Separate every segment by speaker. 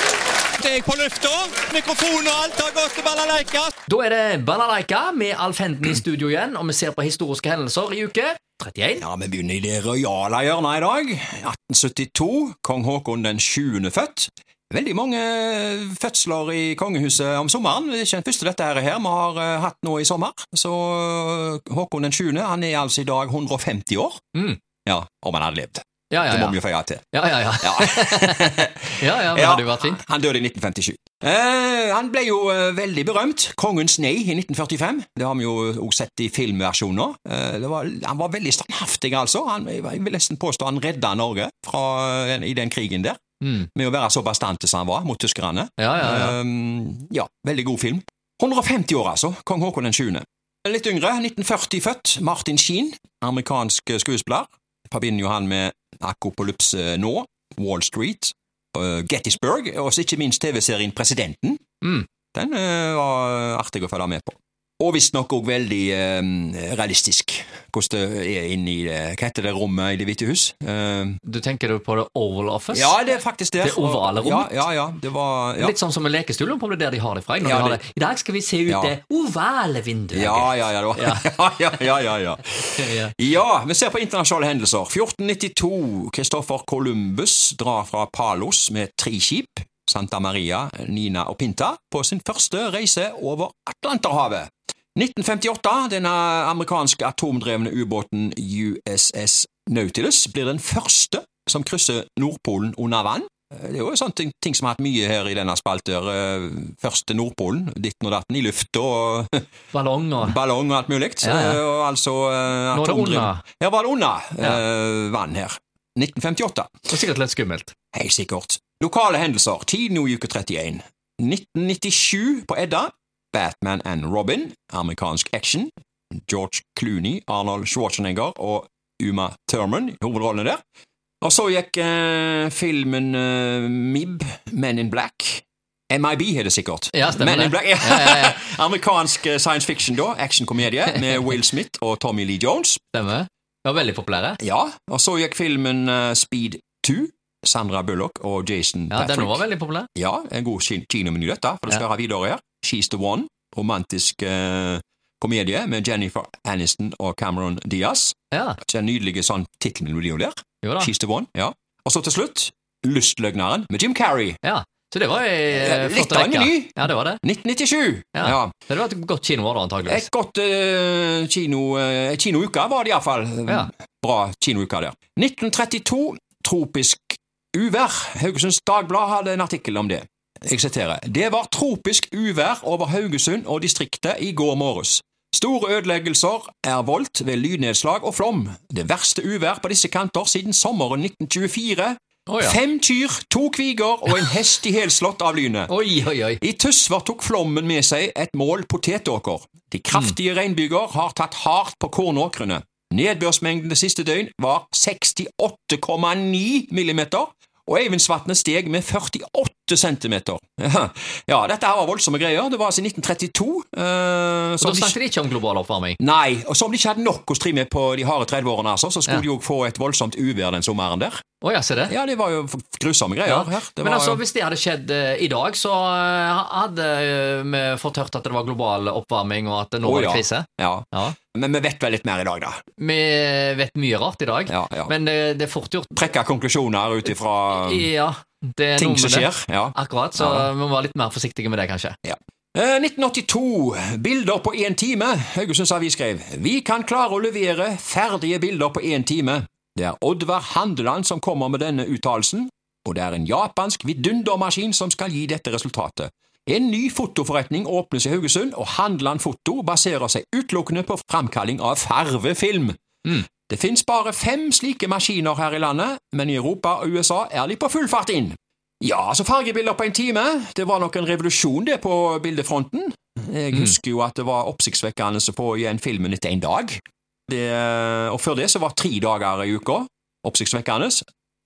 Speaker 1: er jeg på lufta. Mikrofon og alt har gått til balalaika.
Speaker 2: Da er det Balalaika med Alf Henden i studio igjen, og vi ser på historiske hendelser i uke 31.
Speaker 1: Ja, Vi begynner i det rojale hjørnet i dag. 1872, kong Haakon den 7. født. Veldig mange fødsler i kongehuset om sommeren. Det er ikke den første dette her, her vi har eh, hatt nå i sommer. Så eh, Håkon den 7. han er altså i dag 150 år.
Speaker 2: Mm.
Speaker 1: Ja, Om han hadde levd.
Speaker 2: Ja, ja,
Speaker 1: Det må
Speaker 2: ja.
Speaker 1: vi jo føye til.
Speaker 2: Ja, ja, ja.
Speaker 1: Ja.
Speaker 2: ja, ja det
Speaker 1: Ja,
Speaker 2: hadde jo vært fint.
Speaker 1: Han døde i 1957. Eh, han ble jo eh, veldig berømt. 'Kongens nei' i 1945. Det har vi jo eh, også sett i filmversjoner. Eh, det var, han var veldig standhaftig, altså. Han, jeg vil nesten påstå han redda Norge fra, eh, i den krigen der,
Speaker 2: Mm.
Speaker 1: med å være så bastante som han var mot tyskerne.
Speaker 2: Ja, ja, ja.
Speaker 1: Ehm, ja, veldig god film. 150 år, altså. Kong Haakon den 7. Litt yngre, 1940 født, Martin Sheen, amerikansk eh, skuespiller. Forbinder jo han med Akopolypse eh, nå, Wall Street, eh, Gettysburg, og så ikke minst TV-serien Presidenten.
Speaker 2: Mm.
Speaker 1: Den eh, var artig å følge med på. Og visstnok òg veldig eh, realistisk, hvordan det er inne i det, hva heter det rommet i Det hvite hus? Eh,
Speaker 2: Du tenker du på The Oval Office?
Speaker 1: ja, det er faktisk der.
Speaker 2: Det ovale rommet?
Speaker 1: Ja, ja, ja, det var ja.
Speaker 2: Litt sånn som med lekestuen, om det er der de har det fra. Når
Speaker 1: Ja,
Speaker 2: de har
Speaker 1: det-
Speaker 2: det. I dag skal vi se ut
Speaker 1: Ja.
Speaker 2: det ovale vinduet.
Speaker 1: Ja, ja, ja, det var-
Speaker 2: Ja.
Speaker 1: ja, ja, ja, ja.
Speaker 2: Ja.
Speaker 1: Ja, vi ser på internasjonale hendelser. 1492. Kristoffer Columbus drar fra Palos med tre skip, Santa Maria, Nina og Pinta, på sin første reise over Atlanterhavet. 1958. Den amerikanske atomdrevne ubåten USS Nautilus blir den første som krysser Nordpolen under vann. Det er jo sånne ting, ting som har hatt mye her i denne spalten. her. Først til Nordpolen, ditten og datten, i lufta og
Speaker 2: Ballong og
Speaker 1: ballong og alt mulig.
Speaker 2: Ah. Ja, ja.
Speaker 1: Eh, Og altså eh,
Speaker 2: Nå er det
Speaker 1: atomdriv-
Speaker 2: under.
Speaker 1: Ja, var det under eh, vann her. 1958.
Speaker 2: Det er Sikkert litt skummelt.
Speaker 1: Helt sikkert. Lokale hendelser. Tidlig i uke 31. 1997 på Edda. Batman and Robin. Amerikansk action. George Clooney, Arnold Schwarzenegger og Uma Thurman i hovedrollene der. Og så gikk eh, filmen eh, MIB, Men in Black. MIB er det sikkert.
Speaker 2: Ja, stemmer
Speaker 1: Men
Speaker 2: det.
Speaker 1: in Black, ja.
Speaker 2: Ja, ja, ja.
Speaker 1: Amerikansk eh, science fiction, da. Actionkomedie med Will Smith og Tommy Lee Jones.
Speaker 2: Stemmer. Det var veldig populære.
Speaker 1: Ja, og så gikk filmen eh, Speed 2. Sandra Bullock og Jason
Speaker 2: Ja,
Speaker 1: Patrick.
Speaker 2: Den var veldig populær.
Speaker 1: Ja, en god kin- kinomeny, dette, for det skal jeg
Speaker 2: Ja.
Speaker 1: ha videre her. She's the One. Romantisk eh, komedie med Jennifer Aniston og Cameron Diaz.
Speaker 2: Ja,
Speaker 1: Den nydelige sånn tittelmelodien der.
Speaker 2: jo da.
Speaker 1: She's the One. ja. Og så til slutt Lystløgneren med Jim Carrey.
Speaker 2: Ja, Så det var ei
Speaker 1: Ja, litt av en meny.
Speaker 2: Ja, det var det.
Speaker 1: 1997!
Speaker 2: Ja.
Speaker 1: ja.
Speaker 2: Det hadde vært et godt kinoår, da, antageligvis.
Speaker 1: Et godt eh, kino, eh, kinouke var det iallfall.
Speaker 2: Ja.
Speaker 1: Bra kinouke der. 1932, tropisk uvær. Haugesunds Dagblad hadde en artikkel om det. Jeg siterer. Det var tropisk uvær over Haugesund og distriktet i går morges. Store ødeleggelser er voldt ved lynnedslag og flom. Det verste uvær på disse kanter siden sommeren 1924.
Speaker 2: Å, ja.
Speaker 1: Fem kyr, to kviger og en hest i helslått av lynet.
Speaker 2: Oi, oi, oi.
Speaker 1: I Tysvær tok flommen med seg et mål potetåker. De kraftige regnbyger har tatt hardt på kornåkrene. Nedbørsmengden det siste døgn var 68,9 millimeter, og Eivindsvatnet steg med 48 centimeter. Ja, dette her var voldsomme greier. Det var altså i 1932. eh,
Speaker 2: Da
Speaker 1: som de-
Speaker 2: snakket de ikke om global oppvarming.
Speaker 1: Nei, og som de ikke hadde nok å stri med på de harde 30-årene, altså, så skulle
Speaker 2: Ja.
Speaker 1: de jo få et voldsomt uvær den sommeren der.
Speaker 2: Å ja, se det.
Speaker 1: Ja, det var jo f- grusomme greier
Speaker 2: Ja.
Speaker 1: her. Det
Speaker 2: Men
Speaker 1: var
Speaker 2: altså,
Speaker 1: jo-
Speaker 2: hvis det hadde skjedd eh, i dag, så eh, hadde eh, vi fått hørt at det var global oppvarming, og at det nå
Speaker 1: Å,
Speaker 2: var det
Speaker 1: ja.
Speaker 2: krise.
Speaker 1: ja.
Speaker 2: Ja.
Speaker 1: Men vi vet vel litt mer i dag, da.
Speaker 2: Vi vet mye rart i dag,
Speaker 1: Ja, ja.
Speaker 2: men det, det er fort gjort.
Speaker 1: trekke konklusjoner ut ifra
Speaker 2: Ja, det
Speaker 1: Um,
Speaker 2: er
Speaker 1: ting
Speaker 2: noe
Speaker 1: som
Speaker 2: med det.
Speaker 1: skjer. Ja.
Speaker 2: Akkurat, så
Speaker 1: Ja.
Speaker 2: vi må være litt mer forsiktige med det, kanskje.
Speaker 1: Eh, 1982. Bilder på én time. Haugesunds Avis skrev Vi kan klare å levere ferdige bilder på én time. Det er Oddvar Handeland som kommer med denne uttalelsen, og det er en japansk vidundermaskin som skal gi dette resultatet. En ny fotoforretning åpnes i Haugesund, og Handeland Foto baserer seg utelukkende på framkalling av farvefilm.
Speaker 2: Mm.
Speaker 1: Det finnes bare fem slike maskiner her i landet, men i Europa og USA er de på full fart inn. Ja, altså fargebilder på en time. Det var nok en revolusjon det på bildefronten. Jeg
Speaker 2: Mm.
Speaker 1: husker jo at det var oppsiktsvekkende å få igjen filmen etter en dag. Det, og før det så var tre dager i uka oppsiktsvekkende,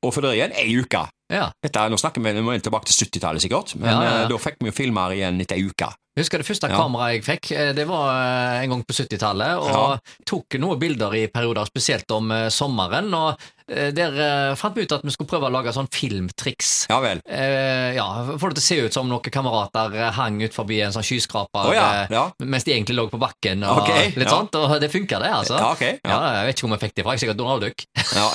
Speaker 1: og før det igjen ei uke.
Speaker 2: Ja.
Speaker 1: Dette, nå snakker vi, vi må inn tilbake til 70-tallet, sikkert, men
Speaker 2: Ja, ja, ja.
Speaker 1: eh, da fikk vi jo filmer igjen etter ei uke.
Speaker 2: Jeg husker det første
Speaker 1: Ja.
Speaker 2: kameraet jeg fikk, eh, det var eh, en gang på 70-tallet, og
Speaker 1: Ja.
Speaker 2: tok noen bilder i perioder, spesielt om eh, sommeren, og eh, der eh, fant vi ut at vi skulle prøve å lage sånn filmtriks.
Speaker 1: Ja vel.
Speaker 2: Eh, ja, Få det til å se ut som noen kamerater eh, hang ut forbi en sånn skyskraper,
Speaker 1: Å ja,
Speaker 2: eh,
Speaker 1: ja.
Speaker 2: mens de egentlig lå på bakken, og
Speaker 1: Ok,
Speaker 2: litt
Speaker 1: ja.
Speaker 2: sånt, og det funka det, altså.
Speaker 1: Ja, ok.
Speaker 2: Ja,
Speaker 1: Ja.
Speaker 2: jeg vet ikke hvor vi fikk det fra, jeg er sikkert Donald Duck.
Speaker 1: Ja.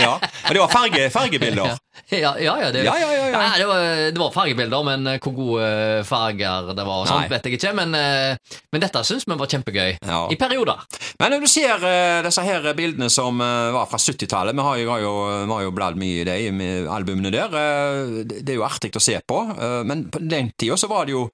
Speaker 1: ja. Men det var farge, fargebilder.
Speaker 2: ja, ja, ja, det,
Speaker 1: Ja, ja, ja. ja.
Speaker 2: Nei, det, var, det var fargebilder, men eh, hvor gode eh, farger det var, og sånt
Speaker 1: Nei.
Speaker 2: vet jeg ikke. Men, eh, men dette syns vi var kjempegøy.
Speaker 1: Ja.
Speaker 2: I perioder.
Speaker 1: Men når du ser eh, disse her bildene som eh, var fra 70-tallet Vi har jo, har jo, vi har jo bladd mye i de med albumene der. eh, det det er jo artig å se på, eh, men på den tida så var det jo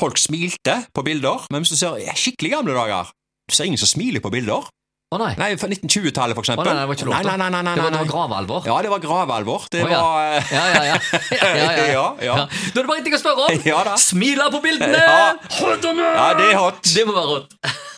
Speaker 1: Folk smilte på bilder, men hvis du ser ja, skikkelig gamle dager Du ser ingen som smiler på bilder.
Speaker 2: Å nei.
Speaker 1: Nei, fra 1920-tallet, for eksempel.
Speaker 2: Å, nei, det var ikke lov
Speaker 1: nei,
Speaker 2: til.
Speaker 1: nei, nei, nei, nei,
Speaker 2: Det var, det
Speaker 1: nei.
Speaker 2: var gravalvor.
Speaker 1: Ja, det var gravalvor. Det
Speaker 2: Å, ja.
Speaker 1: var eh,
Speaker 2: Ja, ja, ja. ja, ja, ja.
Speaker 1: Ja, ja.
Speaker 2: Da er det bare én ting å spørre om.
Speaker 1: Ja da.
Speaker 2: Smila på bildene!
Speaker 1: Ja.
Speaker 2: Håndene!
Speaker 1: Ja, det er hot.
Speaker 2: Det må være rått.